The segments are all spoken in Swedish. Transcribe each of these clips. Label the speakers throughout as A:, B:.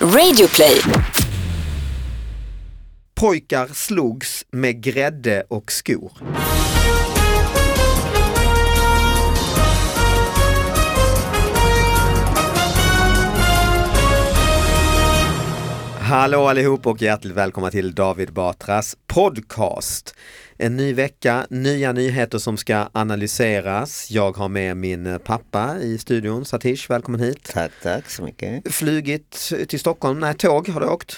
A: Radioplay.
B: Pojkar slogs med grädde och skor. Hallå allihop och hjärtligt välkomna till David Batras podcast. En ny vecka, nya nyheter som ska analyseras. Jag har med min pappa i studion, Satish, välkommen hit.
C: Tack, tack så mycket.
B: Flugit till Stockholm, nej tåg har du åkt.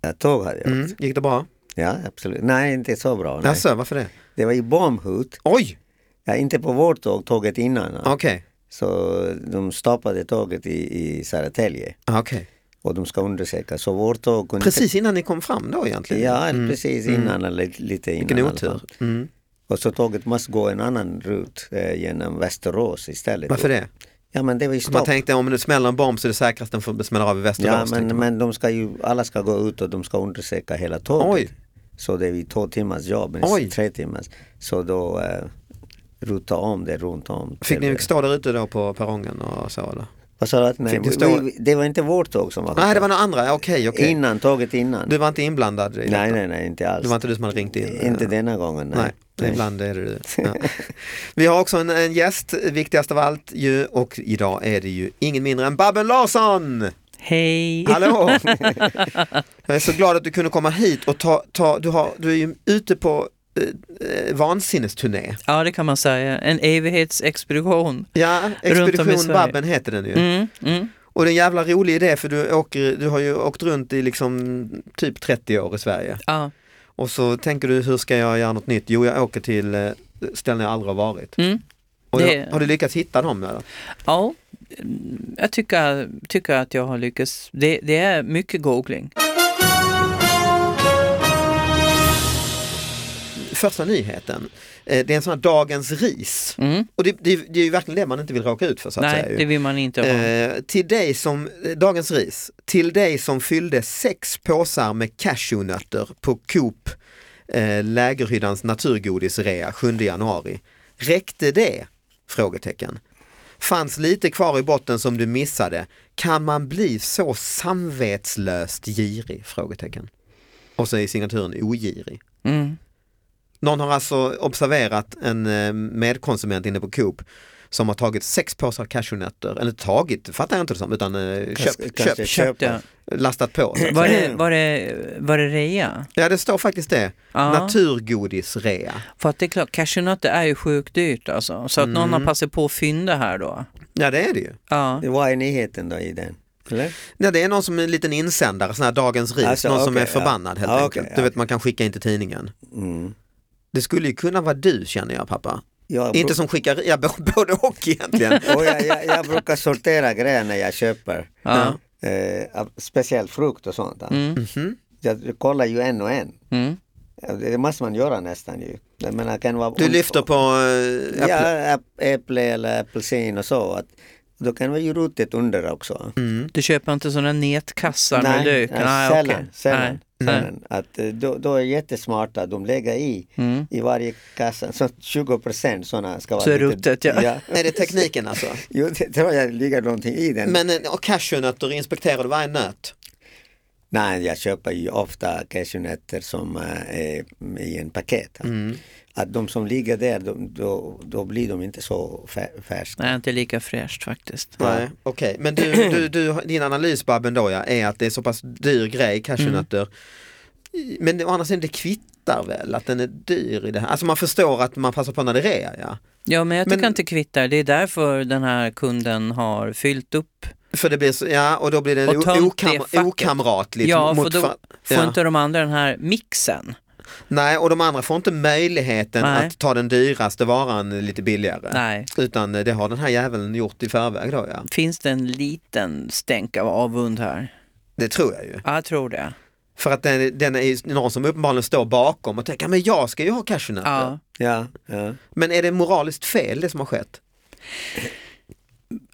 C: Ja, tåg hade jag
B: Mm.
C: åkt.
B: Gick det bra?
C: Ja, absolut. Nej, inte så bra. Nej.
B: Jaså, varför det?
C: Det var i bombhot.
B: Oj,
C: Ja, inte på vårt tåg, tåget innan.
B: okej.
C: Så de stoppade tåget i, i Södertälje
B: Ah, okej.
C: och de ska undersöka. Så vårt tåg kunde...
B: Precis innan ni kom fram då egentligen?
C: Ja, precis innan eller lite innan.
B: Mm. Vilken
C: i alla
B: otur.
C: fall.
B: Mm.
C: Och så tåget måste gå en annan rut eh, genom Västerås istället.
B: Varför det?
C: Ja, men det var ju
B: Man
C: stopp.
B: tänkte om det smäller en bomb så är det säkrast den får- smäller av i typ.
C: Ja,
B: Västerås. tänkte
C: men,
B: man.
C: men de ska ju, alla ska gå ut och de ska undersöka hela tåget.
B: Oj.
C: Så det är ju två timmars jobb, men
B: Oj.
C: tre timmars. Så då eh, ruta om det runt om.
B: Fick ni
C: till-
B: stå där ute då på perrongen och så eller?
C: Vad sa du? att- Nej,
B: fick ni
C: vi,
B: stå-
C: vi, det var inte vårt tåg som var
B: Nej, det var några andra, Ja, okej okej.
C: Innan, tåget innan.
B: Du var inte inblandad i
C: nej,
B: detta?
C: nej, nej, inte alls.
B: Det var inte du som hade ringt in?
C: Inte denna gången, nej.
B: Nej, ibland är det du. Ja. Vi har också en, en gäst, viktigast av allt ju, och idag är det ju ingen mindre än Babben Larsson!
D: Hej!
B: Hallå! Jag är så glad att du kunde komma hit och ta, ta du, har, du är ju ute på eh, eh, vansinnesturné.
D: Ja, det kan man säga. En evighetsexpedition.
B: Ja,
D: Runt om i
B: Expedition
D: Sverige.
B: Babben heter den ju.
D: Mm, mm.
B: Och det är en jävla rolig idé för du, åker, du har ju åkt runt i liksom typ 30 år i Sverige.
D: Ja.
B: Och så tänker du, hur ska jag göra något nytt? Jo, jag åker till eh, ställen jag aldrig har varit.
D: Mm.
B: Och
D: Det-
B: jag, har du lyckats hitta dem? Eller?
D: ja, mm, jag tycker, tycker att jag har lyckats. Det, det är mycket googling.
B: Första nyheten, eh, det är en sån här dagens ris.
D: Mm.
B: Och det, det, det är ju verkligen det man inte vill råka ut för så att säga.
D: Nej,
B: ju.
D: det vill man inte ha.
B: Eh, till dig som, eh, dagens ris, till dig som fyllde sex påsar med cashewnötter på Coop eh, Lägerhyddans naturgodisrea 7 januari. Räckte det? Frågetecken. Fanns lite kvar i botten som du missade. Kan man bli så samvetslöst girig? Frågetecken. Och så är signaturen ogirig.
D: Mm.
B: Någon har alltså observerat en eh, medkonsument inne på Coop som har tagit sex påsar cashewnötter, eller tagit, fattar jag inte det som, utan eh, köpt,
C: Kanske-
B: köpt,
C: kanske
D: Ja.
B: lastat på. så att
D: Var,
B: säga.
D: det, var, det, var det rea?
B: Ja det står faktiskt det,
D: Ja.
B: naturgodisrea.
D: För att det är klart, cashewnötter är ju sjukt dyrt alltså. Så att någon
B: Mm.
D: har passat på att fynda här då.
B: Ja det är det ju.
D: Ja.
C: Det var nyheten då i den. Eller?
B: Ja, det är någon som är en liten insändare, sån här Dagens Ris,
C: Alltså,
B: någon som
C: okej,
B: är
C: ja.
B: förbannad helt
C: Ja,
B: enkelt.
C: okej,
B: Du
C: ja.
B: vet man kan skicka in till tidningen.
C: Mm.
B: Det skulle ju kunna vara du känner jag pappa.
C: Jag, bru-
B: Inte som skickar, ja b- både och egentligen.
C: och jag, jag, jag brukar sortera grejer när jag köper.
D: Ja.
C: Eh, av- speciellt frukt och sånt.
D: Mm.
B: Mm-hmm.
C: Jag kollar ju en och en.
D: Mm.
C: Det måste man göra nästan ju. Jag menar, kan vara
B: Du lyfter på eh,
C: Ja,
B: äpple.
C: äpp- äpple eller apelsin och så. Att då kan vara ju rutet under också.
B: Mm.
D: Du köper inte sådana nätkassar med lök?
C: sällan.
D: okej.
C: sällan,
D: Nej.
C: sällan. Att, eh, då, då är jättesmarta, de lägger i
D: Mm.
C: i varje kassa, så 20 procent sådana ska vara
D: Så är
C: lite-
D: ruttet, ja.
B: Är det tekniken alltså?
C: Jo, det tror jag ligger någonting i den.
B: Men eh, och cashewnötter, inspekterar du varje nöt?
C: Nej, jag köper ju ofta cashewnötter som eh, är i en paket. Att de som ligger där, de, då, då blir de inte så fär- färska.
D: Nej, inte lika fräscht faktiskt.
B: Nej, okej. Men du, du, du, din analys Babben då ja, är att det är så pass dyr grej, cashewnötter.
D: Mm.
B: Men å andra sidan det kvittar väl att den är dyr i det här? Alltså man förstår att man passar på när det är rea ja.
D: Ja, men jag tycker
B: Men-
D: inte kvittar. Det är därför den här kunden har fyllt upp.
B: För det blir så, ja och då blir det
D: Och tömt
B: o- okam,
D: det facket.
B: okamratligt.
D: Ja, för
B: mot
D: då
B: fa-
D: får
B: ja.
D: inte de andra den här mixen.
B: Nej, och de andra får inte möjligheten
D: Nej.
B: att ta den dyraste varan lite billigare.
D: Nej.
B: Utan eh, det har den här jäveln gjort i förväg då ja.
D: Finns det en liten stänk av avund här?
B: Det tror jag ju.
D: Ja, jag tror det.
B: För att den, den är ju någon som uppenbarligen står bakom och tänker, "Ja, men jag ska ju ha cashewnötter.
D: Ja.
C: Ja, ja.
B: Men är det moraliskt fel det som har skett?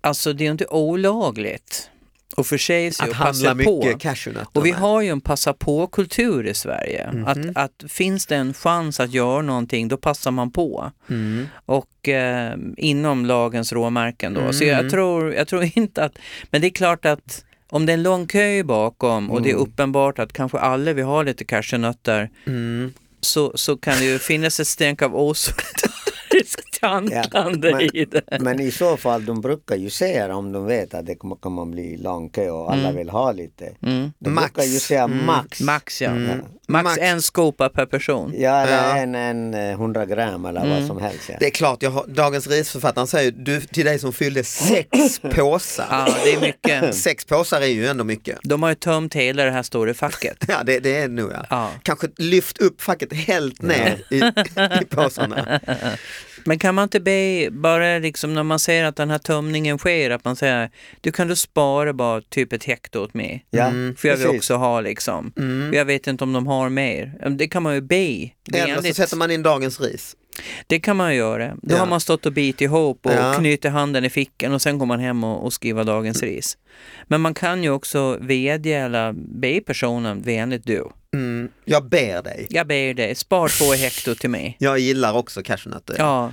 D: Alltså, det är ju inte olagligt att förse sig
B: Att
D: och passa
B: handla mycket
D: på.
B: cashewnötter?
D: Och vi
B: med?
D: har ju en passa på-kultur i Sverige.
B: Mhm.
D: att, att finns det en chans att göra någonting, då passar man på.
B: Mm.
D: Och eh, inom lagens råmärken då. Så jag tror, jag tror inte att, men det är klart att om det är en lång kö bakom och det är uppenbart att kanske alla vi har lite cashewnötter så, så kan det ju finnas ett stänk av osolidariskt handlande
C: men-
D: i det.
C: Men i så fall, de brukar ju säga om de vet att det kommer kommer bli lång kö och alla vill ha lite. De
B: Max.
C: brukar ju säga max.
D: Max ja. Max,
B: Max.
D: en skopa per person.
C: Ja, eller
B: Ja.
C: En, en eh, 100 gram eller vad som helst. Ja.
B: Det är klart, jag har, Dagens Risförfattaren säger du, till dig som fyllde sex påsar.
D: Ja, det är mycket.
B: Sex påsar är ju ändå mycket.
D: De har ju tömt hela det här stora facket.
B: Ja, det, det är det nog ja.
D: Ja.
B: Kanske lyft upp facket helt ner i, i påsarna.
D: Men kan man inte be, bara liksom när man ser att den här tömningen sker, att man säger du kan du spara bara typ ett hekto åt mig? Mm.
C: Ja,
D: För jag vill
C: precis.
D: också ha liksom.
B: Mm.
D: För Jag vet inte om de har mer. Det kan man ju be.
B: Eller så
D: vänligt.
B: sätter man in Dagens Ris.
D: Det kan man ju göra. Då
B: Ja.
D: har man stått och bitit ihop och
B: Ja. Mm.
D: knutit handen i fickan och sen går man hem och, och skriver dagens ris. Men man kan ju också vädja eller be personen vänligt du.
B: Mm. Jag ber dig.
D: Jag ber dig, spar två hekto till mig.
B: Jag gillar också cashewnötter.
D: Ja.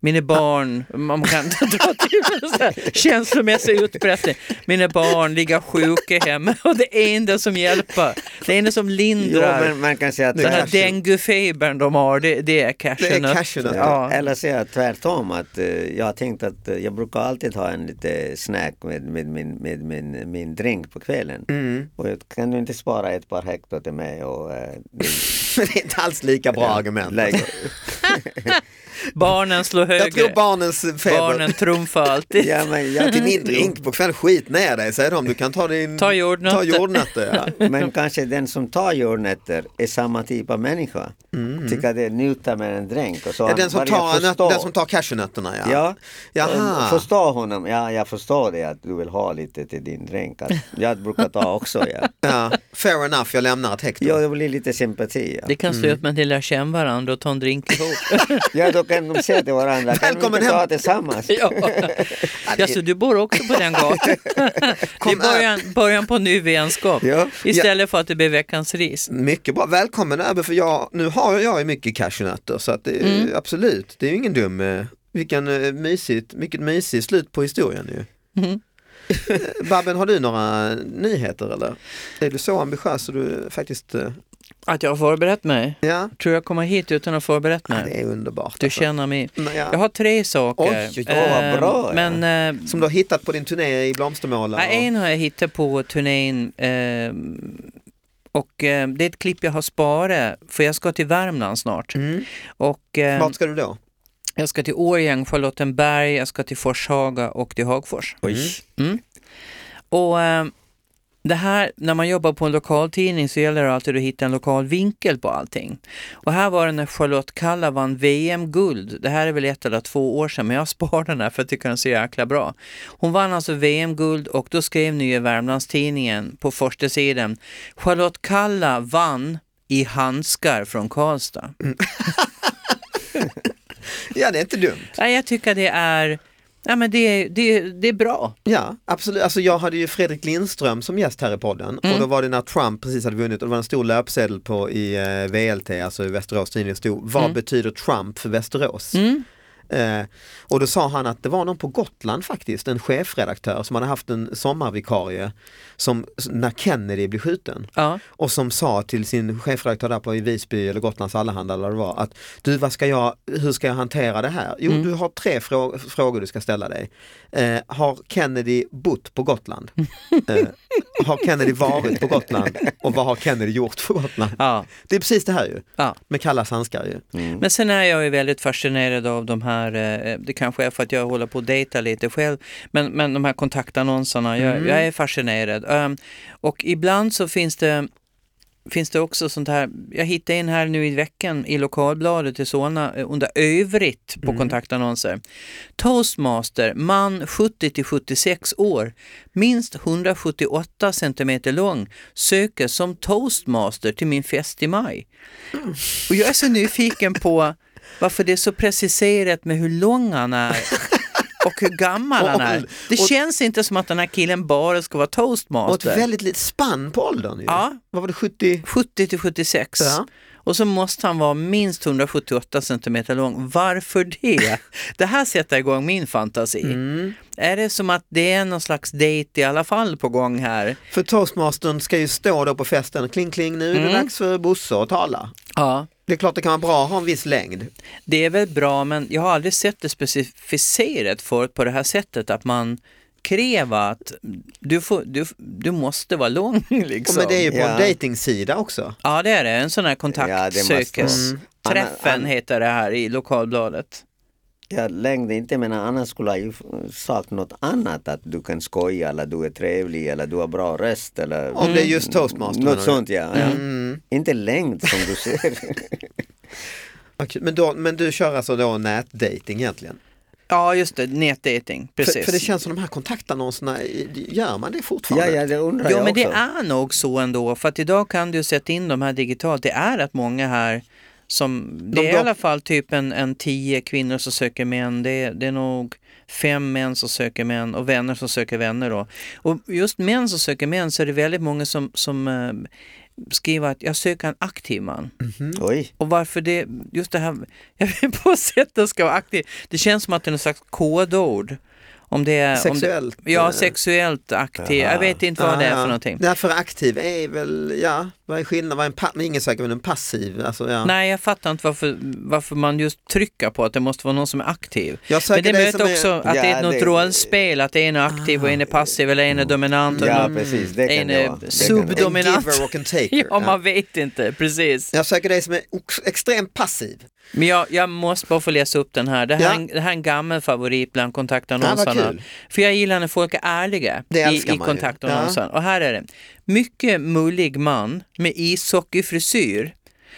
D: Mina barn, man kan inte dra till med så här känslomässig utpressning. Mina barn ligger sjuka hemma och det enda som hjälper, det enda som
C: Jo,
D: lindrar
C: men man kan säga att
D: den här
C: cashew-
D: denguefebern de har, det, det är
B: Det är alltså.
D: cashewnöt.
B: cashewnötter.
D: Ja.
C: Eller säga tvärtom att eh, jag har tänkt att eh, jag brukar alltid ha en lite snack med, med, min med, min min drink på kvällen.
B: Mm.
C: Och jag- kan du inte spara ett par hekto till mig? Och, eh,
B: Men det är inte alls lika bra argument.
C: lägg-
D: Barnen slår högre.
B: Jag tror barnens feber.
D: Barnen trumfar alltid.
C: ja, men, jag,
B: Till min drink på kvällen, skit ner dig säger de. Du kan ta din...
D: Ta jordnötter.
B: Ta jordnötter ja.
C: men kanske den som tar jordnötter är samma typ av människa. Tycker att det är njuta med en drink. Och så
B: Ja,
C: han
B: Mm. den, som
C: börjar
B: tar, nöt,
C: förstå.
B: den som tar cashewnötterna ja.
C: Ja,
B: Jaha.
C: förstå honom. Ja, jag förstår det att du vill ha lite till din drink. Att jag brukar ta också. Ja.
B: Ja, fair enough, jag lämnar ett hekto.
C: Ja, det blir lite sympati. Ja.
D: Det kan
B: Mm.
D: stå ut med att ni lär känna varandra och ta en drink ihop.
C: Ja, då kan de säga till varandra. kan vi
B: Välkommen
C: inte
B: hem.
C: ta tillsammans?
D: ja.
B: det-
D: ja, så du bor också på den gatan? Det är
B: Kom
D: början, början på en ny vänskap.
C: Ja.
D: Istället för att det blir veckans ris.
B: Mycket bra, välkommen över för jag, nu har jag ju mycket cashewnötter så att det,
D: Mm.
B: absolut, det är ju ingen dum, eh, vilken eh, mysigt, mycket mysigt slut på historien ju.
D: Mm.
B: Babben, har du några nyheter eller? Är du så ambitiös så du faktiskt, eh,
D: Att jag har förberett mig.
B: ja,
D: Tror jag kommer hit utan att ha förberett
B: ja
D: mig.
B: det är underbart.
D: Du
B: alltså.
D: känner mig.
B: Nej, ja.
D: Jag har tre saker.
B: Oj, oj, oj,
C: vad
D: Eh,
C: bra, ja.
D: Men eh,
B: Som du har hittat på din turné i Blomstermåla.
D: Ja, en har jag hittat på turnén eh, och eh, det är ett klipp jag har sparat för jag ska till Värmland snart.
B: Mm.
D: Och,
B: och,
D: eh,
B: vart ska du då?
D: jag ska till Årjäng, Charlottenberg, jag ska till Forshaga och till Hagfors.
C: Oj.
D: Och eh, det här, när man jobbar på en lokaltidning så gäller det alltid att hitta en lokal vinkel på allting. Och här var det när Charlotte Kalla vann VM-guld. Det här är väl ett eller två år sedan, men jag sparar den här för jag tycker den är så jäkla bra. Hon vann alltså VM-guld och då skrev Nya Värmlandstidningen på första sidan Charlotte Kalla vann i handskar från Karlstad.
B: Ja, det är inte dumt.
D: Nej, Jag tycker det är, ja, men det, det, det är bra.
B: Ja, absolut. Alltså jag hade ju Fredrik Lindström som gäst här i podden och då var det när Trump precis hade vunnit och det var en stor löpsedel på i eh, VLT, alltså i Västerås tidning, det stod vad betyder Trump för Västerås? Eh, och då sa han att det var någon på Gotland faktiskt, en chefredaktör som hade haft en sommarvikarie som när Kennedy blev skjuten
D: Ja.
B: och som sa till sin chefredaktör där på i Visby eller Gotlands Allehanda eller vad det var att du vad ska jag, hur ska jag hantera det här?
D: Mm.
B: Jo du har tre frå- frågor du ska ställa dig. Eh, har Kennedy bott på Gotland? Eh, har Kennedy varit på Gotland? Och vad har Kennedy gjort på Gotland?
D: Ja. Mm.
B: Det är precis det här ju,
D: Ja.
B: med kalla handskar ju.
D: Men sen är jag ju väldigt fascinerad av de här, eh, det kanske är för att jag håller på att dejta lite själv, men, men de här kontaktannonserna, jag, jag är fascinerad. Ehm, och ibland så finns det Finns det också sånt här, jag hittade in här nu i veckan i lokalbladet i Solna eh, under övrigt
B: Mm.
D: på kontaktannonser. Toastmaster, man 70 till 76 år, minst 178 centimeter lång, söker som toastmaster till min fest i maj. Och jag är så nyfiken på varför det är så preciserat med hur lång han är. och hur gammal han är. Det
B: Och-
D: känns inte som att den här killen bara ska vara
B: Och ett
D: toastmaster.
B: väldigt litet spann på åldern ju.
D: Ja.
B: Vad var det, 70?
D: 70 till 76.
B: Ja.
D: Och så måste han vara minst 178 centimeter lång. Varför det? Det här sätter igång min fantasi. Är det som att det är någon slags dejt i alla fall på gång här?
B: För toastmastern ska ju stå då på festen, kling kling nu är
D: Mm.
B: det dags för Bosse att tala.
D: Ja.
B: Det är klart det kan vara bra att ha en viss längd.
D: Det är väl bra, men jag har aldrig sett det specificerat förut på det här sättet, att man kräver att du, får, du, du måste vara lång.
B: Och
D: Liksom.
B: men det är ju på en
C: Ja.
B: dejtingsida också.
D: Ja, det är det. En sån här
C: Ja, det måste
D: kontaktsökes.
C: vara.
D: Träffen
C: Anna- Anna-
D: heter det här i lokalbladet.
C: Jag längde inte men annars skulle jag ju sakna något annat att du kan skoja eller du är trevlig eller du har bra röst eller Mm.
B: Om det är just Mm. toastmaster, menar
C: Något
B: du?
C: sånt ja. ja. Inte längd som du ser.
B: Okej, Men, då, men du kör alltså då nätdating egentligen?
D: Ja, just det. Nätdating.
B: För,
D: Precis.
B: för det känns som de här kontaktannonserna, i- gör man det
C: ja,
B: fortfarande?
C: ja, det undrar
D: Ja,
C: jag
D: men det
C: också.
D: är nog så ändå. För att idag kan du sätta in de här digitalt. Det är att många här som, det är i
B: då-
D: alla fall typ en, en tio kvinnor som söker män. Det är, det är nog fem män som söker män och vänner som söker vänner då. Och just män som söker män så är det väldigt många som, som eh, skriver att jag söker en aktiv man.
B: Mm.
C: Oj.
D: Och varför det, just det här, jag vill på sättet ska vara aktiv. Det känns som att det är något slags kodord. Om det är,
B: Sexuellt,
D: Om det, ja,
B: eh.
D: sexuellt aktiv.
C: Aha.
D: Jag vet inte vad det är
B: Ja,
D: för
B: ja.
D: någonting.
B: Därför aktiv är väl, ja, vad är skillnaden? Vad är en pa- ingen söker väl en passiv? Alltså, ja.
D: Nej, jag fattar inte varför, varför man just trycker på att det måste vara någon som är aktiv.
B: Jag
D: Men
B: söker
D: det
B: dig
D: möter
B: som är-
D: också att det är
C: Ja,
D: något
C: det-
D: rollspel, att en är aktiv och en är passiv eller en är dominant. Mm. och
C: Ja
B: Mm.
D: någon-
C: precis, det kan
D: en eh,
C: det
D: är
C: vara. Det kan det
D: sub-
C: vara.
B: En
D: dominant.
B: giver och en taker.
D: Ja, man vet inte, precis.
B: Jag söker dig som är ox- extremt passiv.
D: Men jag, jag måste bara få läsa upp den här. Det här,
B: Ja.
D: är en- det här är en gammal favorit bland
B: Ja, vad
D: kontaktannonserna.
B: kul.
D: För jag gillar när folk är ärliga
B: Det
D: i,
B: älskar
D: i
B: man ju.
D: kontaktannonsen. Och här är det. Mycket mullig man med ishockeyfrisyr.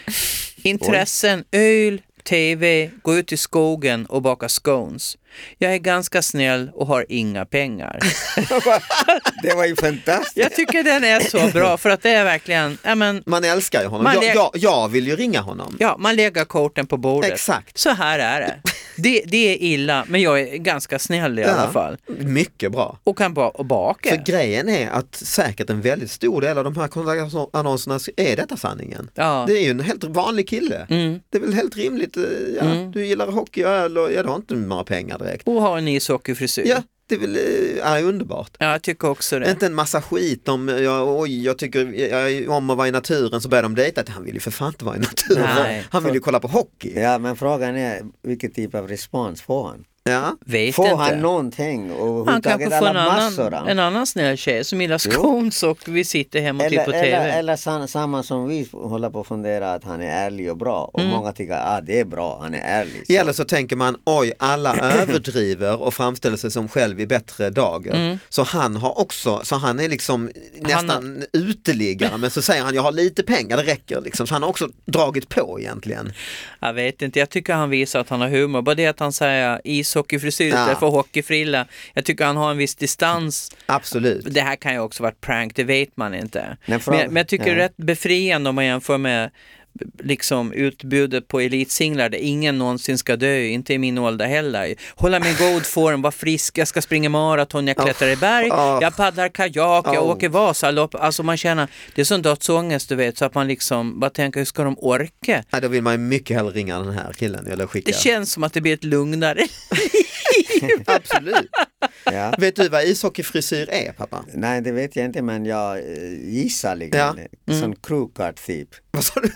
D: Intressen öl, tv, gå ut i skogen och baka scones. Jag är ganska snäll och har inga pengar.
C: Det var ju fantastiskt.
D: Jag tycker den är så bra för att det är verkligen, ja men,
B: Man älskar ju honom.
D: Man
B: jag,
D: lä-
B: jag, jag vill ju ringa honom.
D: ja man lägger korten på bordet.
B: Exakt.
D: Så här är det. Det, det är illa, men jag är ganska snäll i alla fall.
B: Mycket bra.
D: Och kan bara och baka.
B: För grejen är att säkert en väldigt stor del av de här kontaktannonserna är detta sanningen.
D: Ja. Mm.
B: Det är ju en helt vanlig kille. Det är väl helt rimligt. eh, Ja, Du gillar hockey och öl och ja, du har inte några pengar direkt.
D: Och ha en ishockeyfrisyr.
B: Ja, det är väl eh, ja, underbart.
D: ja, jag tycker också det.
B: Inte en massa skit om, eh, ja, oj, jag tycker jag, om att vara i naturen så börjar de dejta, han vill ju för fan inte vara i naturen,
D: Nej.
B: han vill ju kolla på hockey.
C: Ja men frågan är vilken typ av respons får han?
B: Ja.
D: Vet
C: Får
D: inte.
C: han någonting? Och
D: han kanske
C: överhuvudtaget
D: får en
C: alla
D: annan,
C: massorna?
D: en annan snäll tjej som gillar scones och vi sitter
B: typ
D: hemma och tittar på
C: Eller,
D: TV.
C: eller, eller sam, samma som vi håller på att fundera att han är ärlig och bra och
B: Mm.
C: många tycker att ah, det är bra, han är ärlig. Så-
B: Eller så tänker man, oj, alla överdriver och framställer sig som själv i bättre dagar.
D: Mm.
B: Så han har också, så han är liksom nästan uteliggare, men så säger han, jag har lite pengar, det räcker liksom. Så han har också dragit på egentligen.
D: Jag vet inte, jag tycker han visar att han har humor. Bara det att han säger ishockeyfrisyr istället
B: Ja.
D: för hockeyfrilla. Jag tycker han har en viss distans.
B: Absolut.
D: Det här kan ju också varit prank, det vet man inte.
C: Nej, för-
D: men, men jag tycker det är
C: ja.
D: rätt befriande om man jämför med liksom utbudet på elitsinglar där ingen någonsin ska dö, inte i min ålder heller. Hålla mig i god form, vara frisk, jag ska springa maraton, jag klättrar i berg,
B: Oh.
D: jag paddlar kajak, jag
B: Oh.
D: åker Vasalopp. Alltså man känner, det är sån dödsångest du vet, så att man liksom bara tänker hur ska de orka?
B: Ja, då vill man ju mycket hellre ringa den här killen eller skicka.
D: Det känns som att det blir ett lugnare
B: Absolut.
C: Ja.
B: Vet du vad ishockeyfrisyr är pappa?
C: Nej det vet jag inte men jag eh, gissar liksom.
B: Ja. Mm.
C: Som krukart typ.
B: Vad sa du?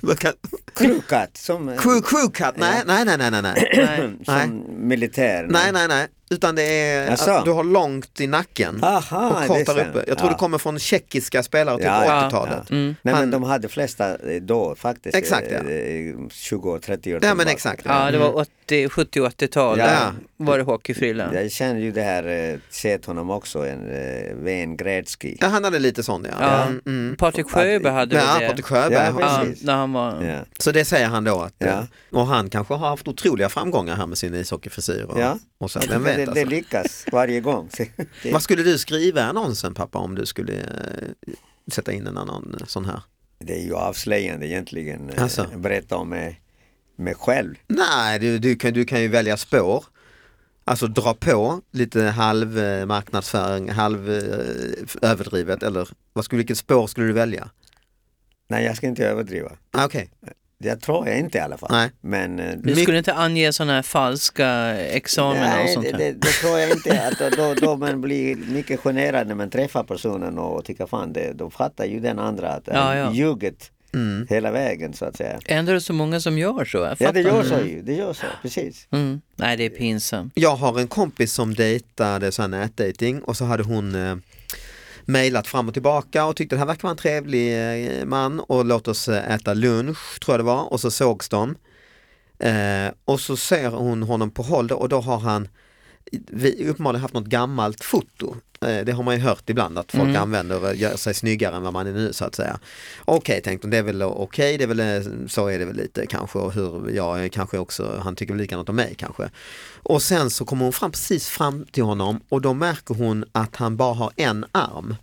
B: Vad kan-
D: Mm.
C: Krukart som, eh,
B: Crew, crew cut? Nej, nej, nej, nej, nej, nej, Nej.
C: som militär.
B: nej, nej, nej, utan det är
C: Jaså?
B: att du har långt i nacken
C: Aha,
B: och
C: det
B: kort
C: är
B: där
C: sant.
B: uppe. Jag tror
C: Ja.
B: det kommer från tjeckiska spelare typ
C: Ja,
B: på
C: ja,
B: 80-talet.
C: Nej
B: Han-
C: men de hade flesta eh, då faktiskt. eh,
B: Exakt, ja.
C: eh, 20 och 30 år
B: Ja, men
C: tillbaka.
B: exakt.
D: Ja, det var 80, 70 80-tal
C: mm. Ja.
D: var det hockeyfrillan.
C: Jag känner ju det här, eh, sett honom också, en eh, Ven Gretzky.
B: Ja, han hade lite sån ja.
D: Ja.
B: Mm, mm.
D: Patrik Sjöberg hade
B: Ja,
D: väl det?
B: Patrik Sjöberg.
C: Ja,
B: har-
C: precis.
D: Ja, när han var...
C: Ja.
B: Så det säger han då att, eh,
C: Ja.
B: och han kanske har haft otroliga framgångar här med sin ishockeyfrisyr och,
C: Ja.
B: och så,
C: Men
B: vem
C: det,
B: vet
C: det
B: alltså.
C: lyckas varje gång. Så det-
B: Vad skulle du skriva i annonsen pappa om du skulle eh, sätta in en annan eh, sån här?
C: Det är ju avslöjande egentligen. eh,
B: Alltså.
C: Berätta om mig, mig själv.
B: Nej, du, du, kan, du kan ju välja spår. Alltså dra på lite halv eh, marknadsföring, halv eh, överdrivet eller vad skulle, vilket spår skulle du välja?
C: Nej, jag ska inte överdriva.
B: Ah, Okej,
C: Jag tror jag inte i alla fall.
B: Nej.
C: Men eh,
D: Du
B: My-
D: skulle inte ange sådana här falska examina och
C: Nej,
D: sånt
C: det,
D: där?
C: det, det tror jag inte. Att då, då man blir mycket generad när man träffar personen och tycker fan, det, då fattar ju den andra att
D: Ja, ja.
C: ljuget
B: Mm.
C: hela vägen så att säga.
D: Ändå är det så många som gör så. Jag
C: Ja, det
D: fattar
C: gör
D: inte.
C: så ju. Det gör så, precis.
D: Mm. Nej, det är pinsamt.
B: jag har en kompis som dejtade så här nätdejting och så hade hon eh, mejlat fram och tillbaka och tyckte det här verkar vara en trevlig eh, man och låt oss eh, äta lunch, tror jag det var, och så sågs de. Eh, och så ser hon honom på håll då, och då har han vi uppenbarligen haft något gammalt foto. Eh, Det har man ju hört ibland att folk använder och gör sig snyggare än vad man är nu så att säga. Okej, tänkte hon, det är väl okej, det är väl, eh, så är det väl lite kanske och hur jag är kanske också, han tycker väl likadant om mig kanske. Och sen så kommer hon fram precis fram till honom och då märker hon att han bara har en arm.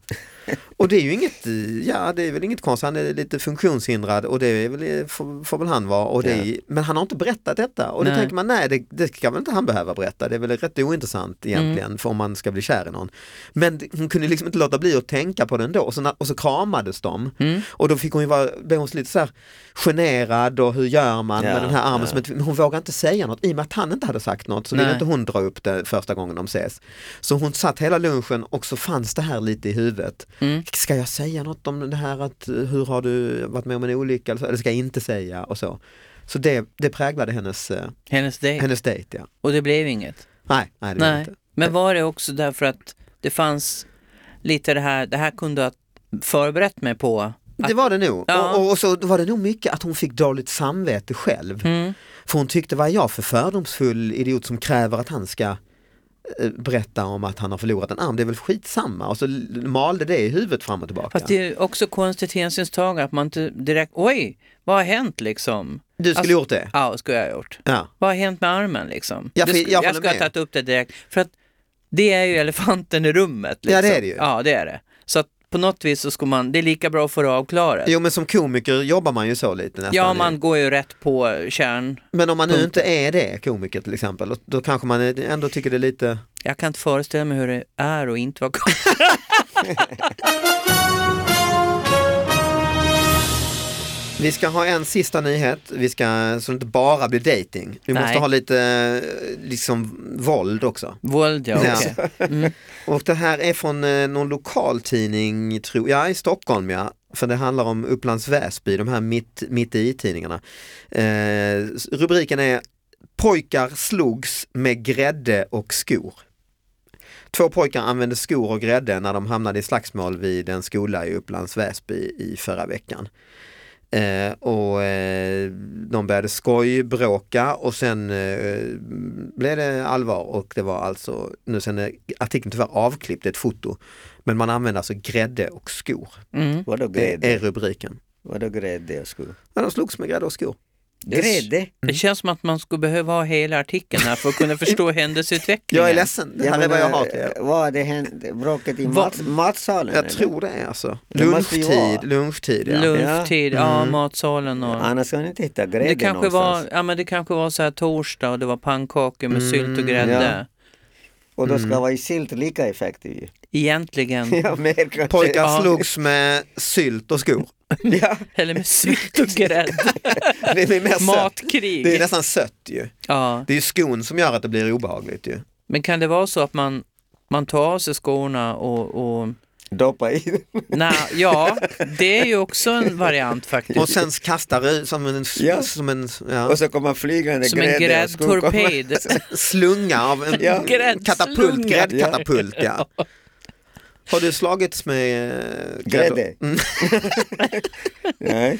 B: Och det är ju inget, eh, ja det är väl inget konstigt, han är lite funktionshindrad och det är väl, eh, får, får väl han vara. Och det är, Men han har inte berättat detta och då
D: Nej.
B: tänker man nej det, det ska väl inte han behöva berätta, det är väl rätt ointressant egentligen för om man ska bli kär i någon. Men det- hon kunde liksom inte låta bli att tänka på den då och så, na- och så kramades de och då fick hon ju vara, blev hon lite så här generad och hur gör man
C: Ja,
B: med den här armen
C: ja.
B: som ett, men hon vågade inte säga något i och med att han inte hade sagt något så ville
D: Nej.
B: inte hon dra upp det första gången de ses. Så hon satt hela lunchen och så fanns det här lite i huvudet. Ska jag säga något om det här att eh, hur har du varit med om en olycka eller, så, eller ska jag inte säga och så. Så det, det präglade hennes, eh,
D: Hennes dejt.
B: hennes dejt ja.
D: Och det blev inget.
B: Nej, nej det blev
D: Nej.
B: inte.
D: Men var det också därför att det fanns lite det här, det här kunde jag förberett mig på? Att,
B: Det var det nog.
D: Ja.
B: Och, och, och så var det nog mycket att hon fick dåligt samvete själv.
D: Mm.
B: För hon tyckte, vad är jag för fördomsfull idiot som kräver att han ska eh, berätta om att han har förlorat en arm, det är väl skitsamma. Och så l- malde det i huvudet fram och tillbaka.
D: Fast det är också konstigt hänsynstagande att man inte direkt, oj, vad har hänt liksom?
B: Du skulle
D: Alltså-
B: gjort det?
D: Ja, vad skulle jag ha gjort?
B: Ja.
D: Vad har hänt med armen liksom?
B: Ja,
D: Det
B: för
D: sk-
B: jag håller
D: jag skulle ha
B: med.
D: tagit upp det direkt. För att det är ju elefanten i rummet. Liksom.
B: Ja, det är det ju.
D: Ja, det är det. Så att på något vis så ska man, det är lika bra att få det avklarat.
B: Jo men som komiker jobbar man ju så lite nästan.
D: Ja, man går ju rätt på kärn.
B: Men om man nu inte är det, komiker till exempel, då- då kanske man ändå tycker det är lite...
D: Jag kan inte föreställa mig hur det är och inte vara kvar.
B: Vi ska ha en sista nyhet, vi ska, så det inte bara blir dating. Vi måste
D: Nej.
B: ha lite eh, liksom våld också.
D: Våld, ja.
B: Ja.
D: okej.
B: Och det här är från eh, någon lokaltidning, tror jag, i Stockholm ja. För det handlar om Upplands Väsby, de här mitt, mitt i tidningarna. Eh, rubriken är Pojkar slogs med grädde och skor. Två pojkar använde skor och grädde när de hamnade i slagsmål vid en skola i Upplands Väsby i förra veckan. Eh, och eh, de började skojbråka och sen eh, blev det allvar och det var alltså, nu sen är artikeln tyvärr avklippt, det är ett foto, men man använder alltså grädde och skor.
D: Mm.
C: Vadå
B: Det är
C: grädde?
B: rubriken.
C: Vadå grädde och skor?
B: Ja, de slogs med grädde och skor.
C: Grädde?
D: Det känns som att man skulle behöva ha hela artikeln här för att kunna förstå händelseutvecklingen.
B: Jag är ledsen, det här är vad
C: eh,
B: jag har till er.
C: Vad det hände? Bråket i
D: Va-
C: mat, matsalen?
B: Jag
C: eller?
B: tror det är alltså.
C: Det måste ju
B: Lunchtid,
C: vara.
B: lunchtid ja. Mm.
D: Lunchtid, ja, matsalen och...
C: Annars kan man inte hitta grädde
D: Det kanske,
C: någonstans.
D: var, ja, men det kanske var så här torsdag och det var pannkakor med sylt
B: Mm,
D: och grädde.
C: Och då ska
D: Mm.
C: vara i silt lika effektiv ju.
D: Egentligen.
C: Ja, mer kanske.
B: Pojkar
D: Ja.
B: slogs med sylt och skor.
C: Ja,
D: Eller med sylt och grädde.
B: Det är, mer sött.
D: Matkrig.
B: Alltså, det är nästan sött ju.
D: Ja.
B: Det är ju skon som gör att det blir obehagligt ju.
D: Men kan det vara så att man, man tar av sig skorna och... och
C: doppa i.
D: nej, ja, det är ju också en variant faktiskt.
B: Och sen kastar det som en,
C: Ja.
B: som en ja,
C: Och så kommer flygande
D: Som en
C: grädde och skor kommer.
D: gräddtorped.
B: slunga av en
C: Ja.
B: katapult,
D: Gräddslunga.
B: gräddkatapult. Ja. Har du slagits med eh,
C: Grädde?
B: Mm,
C: Nej.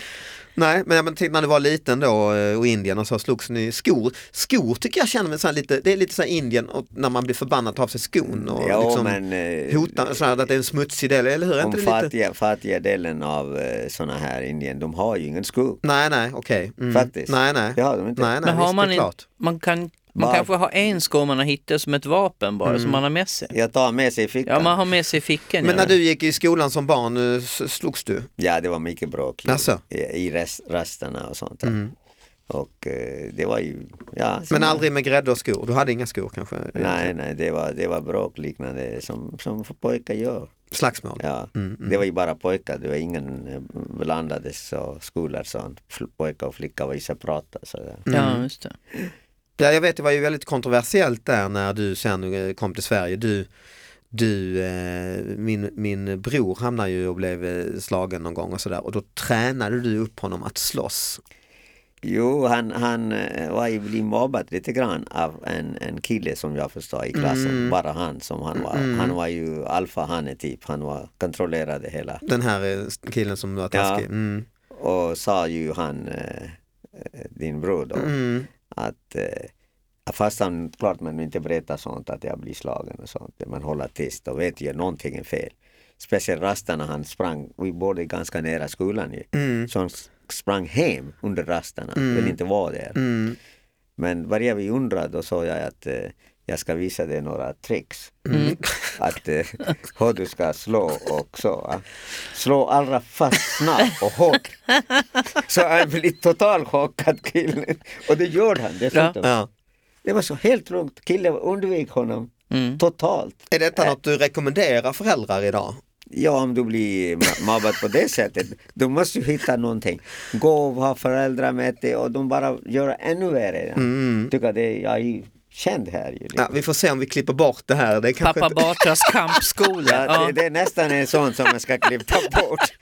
B: nej, men jag men, tänk när du var liten då eh, och Indien och så slogs ni skor. Skor tycker jag känner mig så här lite, det är lite så här Indien och när man blir förbannad tar av sig skon och
C: Ja,
B: liksom
C: men... eh,
B: hotar så här, att det är en smutsig del, eller hur? Är inte
C: Om
B: det lite?
C: fattiga, fattiga delen av eh, såna här Indien, de har ju ingen skog.
B: Nej, nej, okej. Mm.
C: Faktiskt.
B: Nej, nej.
C: Det har de inte.
B: nej, nej
D: Men har
B: visst,
D: man
B: det är
D: inte-
B: klart.
D: Man, kan, man
C: Bara-
D: kanske har en sko man har hittat som ett vapen bara, som man har med sig.
C: Jag tar med sig i fickan.
D: Ja, man har med sig i fickan.
B: Mm. Men
D: ja.
B: när du gick i skolan som barn, eh, s- slogs du?
C: Ja, det var mycket bråk ju.
B: Alltså? Mm.
C: i, i rest, rasterna och sånt. där. Och eh, det var ju, ja.
B: Men aldrig med grädde och skor? Du hade inga skor kanske?
C: Nej, nej, det var, det var bråk liknande som, som pojkar gör.
B: Slagsmål?
C: Ja,
B: Mm, mm.
C: det var ju bara pojkar, det var ingen eh, blandade så, skolor sånt. Fl- Pojkar och flickor var ju separata. Så, där.
D: Ja,
B: Mm.
D: just det.
B: Ja, jag vet, det var ju väldigt kontroversiellt där när du sen eh, kom till Sverige. Du, du, eh, min, min bror hamnade ju och blev eh, slagen någon gång och sådär och då tränade du upp honom att slåss.
C: Jo, han, han eh, var ju blivit mobbad lite grann av en, en kille som jag förstår i
B: Mm.
C: klassen. Bara han som han var. Han var ju alfahanne typ. Han var, kontrollerade hela.
B: Den här eh, killen som var taskig.
C: Ja.
B: Mm.
C: Och sa ju han, eh, eh, din bror då,
B: Mm.
C: att eh, fast han, klart man inte berättar sånt att jag blir slagen och sånt. Man håller tyst och vet ju någonting är fel. Speciellt rasterna han sprang, vi bodde ganska nära skolan ju.
B: Mm.
C: Så han s- sprang hem under rasterna,
B: Mm.
C: ville inte vara där.
B: Mm.
C: Men varje vi undrade då sa jag att eh, jag ska visa dig några tricks.
B: Mm.
C: Att eh, hur du ska slå och så. va. Slå allra fast snabbt och hårt. Så han blev totalchockad killen. Och det gjorde han dessutom.
B: Ja.
C: Det var så helt lugnt. Killen undvek honom
D: Mm.
C: totalt.
B: Är detta något du rekommenderar föräldrar idag?
C: Ja, om du blir ma- mobbad på det sättet, då måste du hitta någonting. Gå och ha föräldramöte och de bara gör ännu värre.
B: Mm.
C: Tycker att det, jag är ju känd här. Ju, liksom.
B: Ja, vi får se om vi klipper bort det här. Det är kanske
D: Pappa
B: inte...
D: Batras kampskola.
C: Ja,
D: Ja.
C: det, det är nästan en sån som man ska klippa bort.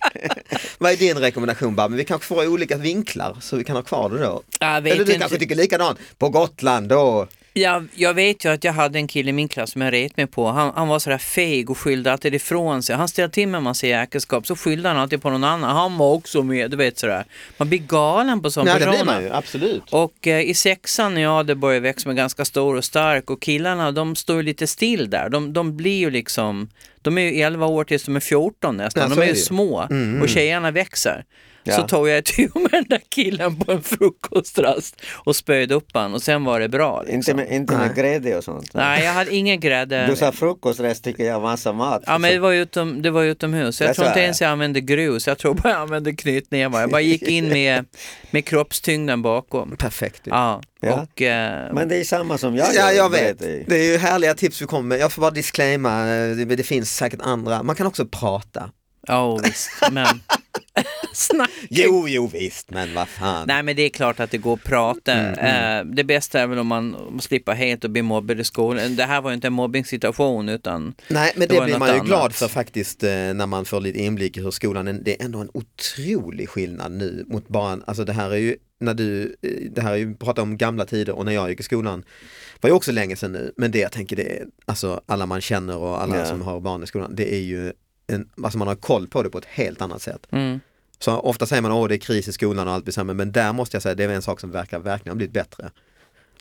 B: Vad är din rekommendation Babben? Vi kanske får olika vinklar så vi kan ha kvar det då.
D: Jag vet
B: Eller du
D: inte.
B: kanske tycker likadant? På Gotland då?
D: Jag, jag vet ju att jag hade en kille i min klass som jag ret mig på. Han, han var sådär feg och skyllde alltid ifrån sig. Han ställde till med en massa jäkelskap så skyllde han alltid på någon annan. Han var också med, du vet sådär. Man blir galen på sådana
B: Nej, det
D: personer.
B: blir man ju, absolut.
D: Och eh, i sexan när jag började växa mig ganska stor och stark och killarna de står ju lite still där. De, de blir ju liksom, de är ju 11 år tills de är 14 nästan.
B: Ja, så
D: de är
B: är
D: ju
B: det ju. Mm.
D: små och tjejerna växer. Så
C: Ja.
D: tog jag itu med den där killen på en frukostrast och spöjde upp han och sen var det bra. Liksom.
C: Inte med, inte med grädde och sånt.
D: Nej, jag hade ingen grädde.
C: Du sa frukostrest tycker jag massa mat.
D: Ja, men det var, utom, det var utomhus. Jag
C: Det
D: tror
C: sa
D: inte
C: jag.
D: ens jag använde grus. Jag tror bara jag använde knytnävar. Jag bara gick in med, med kroppstyngden bakom.
B: Perfekt. ju.
D: Ja,
C: Ja.
D: och... Eh,
C: Men det är samma som jag
B: Ja,
C: gör,
B: jag
C: berättar
B: vet.
C: ju.
B: Det är ju härliga tips vi kommer med. Jag får bara disclaima, eh, det, det finns säkert andra. Man kan också prata.
D: Ja, visst. Men... Snack.
B: Jo, jo visst, men vad fan.
D: Nej, men det är klart att det går att prata. Eh, det bästa är väl om man om man slipper helt och bli mobbad i skolan. Det här var ju inte en mobbningssituation utan...
B: Nej, men
D: Det
B: det,
D: var
B: blir
D: något
B: man ju
D: annat.
B: glad för faktiskt eh, när man får lite inblick i hur skolan, är. det är ändå en otrolig skillnad nu mot bara, en- alltså det här är ju, när du, eh, det här är ju, prata om gamla tider och när jag gick i skolan, var ju också länge sedan nu, men det jag tänker det är, alltså alla man känner och alla
C: Ja.
B: som har barn i skolan, det är ju, en, alltså man har koll på det på ett helt annat sätt.
D: Mm.
B: Så ofta säger man att det är kris i skolan och allt blir sämre, men där måste jag säga det är en sak som verkar verkligen ha blivit bättre.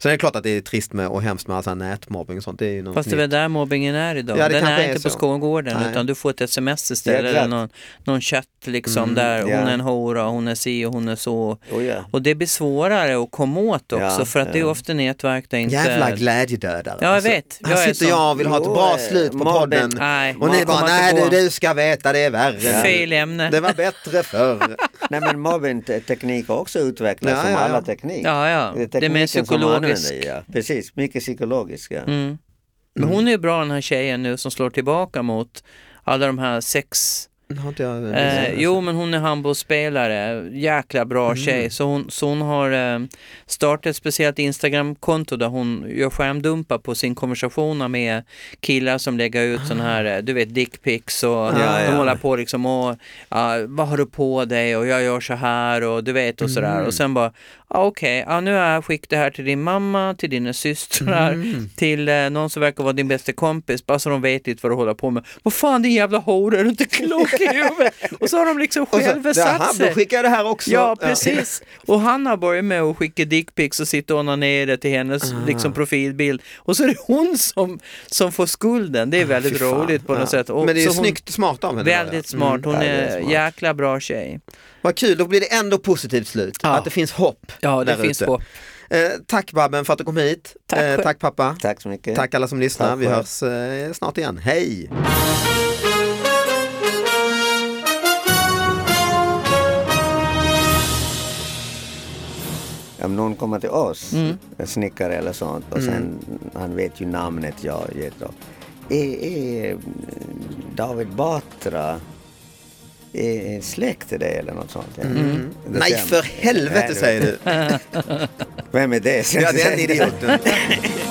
B: Sen är det klart att det är trist med och hemskt med alltså nätmobbing och sånt. Det är ju något
D: Fast det är
B: nytt.
D: väl där mobbingen är idag.
B: Ja, det
D: Den
B: kanske
D: är
B: är
D: inte på
B: så.
D: skolgården
B: Nej.
D: utan du får ett sms
C: Ja,
D: istället
C: exakt.
D: eller någon, någon chatt liksom
B: Mm,
D: där hon
C: ja.
D: är en hora, hon är si och hon är så.
C: Oh, ja.
D: Och det blir svårare att komma åt också
C: Ja,
D: för att det är
C: ja.
D: ofta nätverk där inte...
B: Jävla glädjedödare. Alltså,
D: Ja, jag vet.
B: här
D: Jag är
B: sitter
D: sån.
B: jag och vill ha ett
C: Jo,
B: bra
C: eh,
B: slut på
C: mobben.
B: podden.
D: Nej,
B: Och ni
D: man
B: bara,
D: kommer
B: nej
D: inte
B: du,
D: gå.
B: du ska veta det är värre.
D: Fel ämne.
B: Det var bättre förr.
C: Nej men mobbingteknik har också utvecklats
B: Ja,
C: som
B: ja, ja.
C: alla teknik.
D: Ja, ja.
C: Det är
D: Det är mer
C: tekniken som
D: psykologiskt.
C: använder, ja. Precis, mycket psykologiskt. Ja.
D: Mm. Men hon är ju bra den här tjejen nu som slår tillbaka mot alla de här sex...
B: Har inte jag-
D: Eh, jo men hon är handbollsspelare, jäkla bra
C: Mm.
D: tjej. Så hon, så hon har eh, startat ett speciellt Instagramkonto där hon gör skärmdumpar på sin konversationer med killar som lägger ut sådana här, eh, du vet dickpics och de
C: Ah. ja.
D: håller på liksom och ja, vad har du på dig och jag gör så här och du vet och
B: Mm.
D: sådär. Och sen bara, ah, okej, ah, nu har jag skickat det här till din mamma, till dina systrar,
B: Mm.
D: till eh, någon som verkar vara din bästa kompis, bara så de vet lite vad du håller på med. Vad fan din jävla hora, är du inte klok i huvudet? Och så har de liksom
B: Och så,
D: själva
B: Jaha,
D: satt
B: då
D: sig.
B: skickar jag det här också.
D: Ja, precis. Och han har börjat med att skicka dickpics och sitta och onanera till
B: Ah.
D: hennes liksom, profilbild. Och så är det hon som, som får skulden. Det är
B: Ah, Fy
D: väldigt
B: fan.
D: roligt på något
B: Ja.
D: sätt. Och
B: Men det är
D: så
B: ju
D: hon-
B: snyggt smart av henne.
D: Väldigt
B: Maria. Mm.
D: smart, hon
C: ja, det
D: är,
C: är smart.
D: jäkla bra tjej.
B: Vad kul, då blir det ändå positivt slut.
D: Ja.
B: Att det finns hopp.
D: Ja, det
B: där
D: finns
B: ute.
D: hopp.
B: Eh, tack Babben för att du kom hit.
D: Tack
B: eh,
D: själv.
B: tack pappa.
C: Tack så mycket.
B: Tack alla som lyssnar.
C: Tack
B: Vi
C: själv.
B: hörs eh, snart igen. Hej!
C: Om komma till oss, snickare eller sånt. Och sen, han vet ju namnet jag ger då. Är, är David Batra är är släkt till dig eller något sånt? Mm.
B: Nej för helvete säger du!
C: Vem är det?
B: 啊 Ja, den idioten.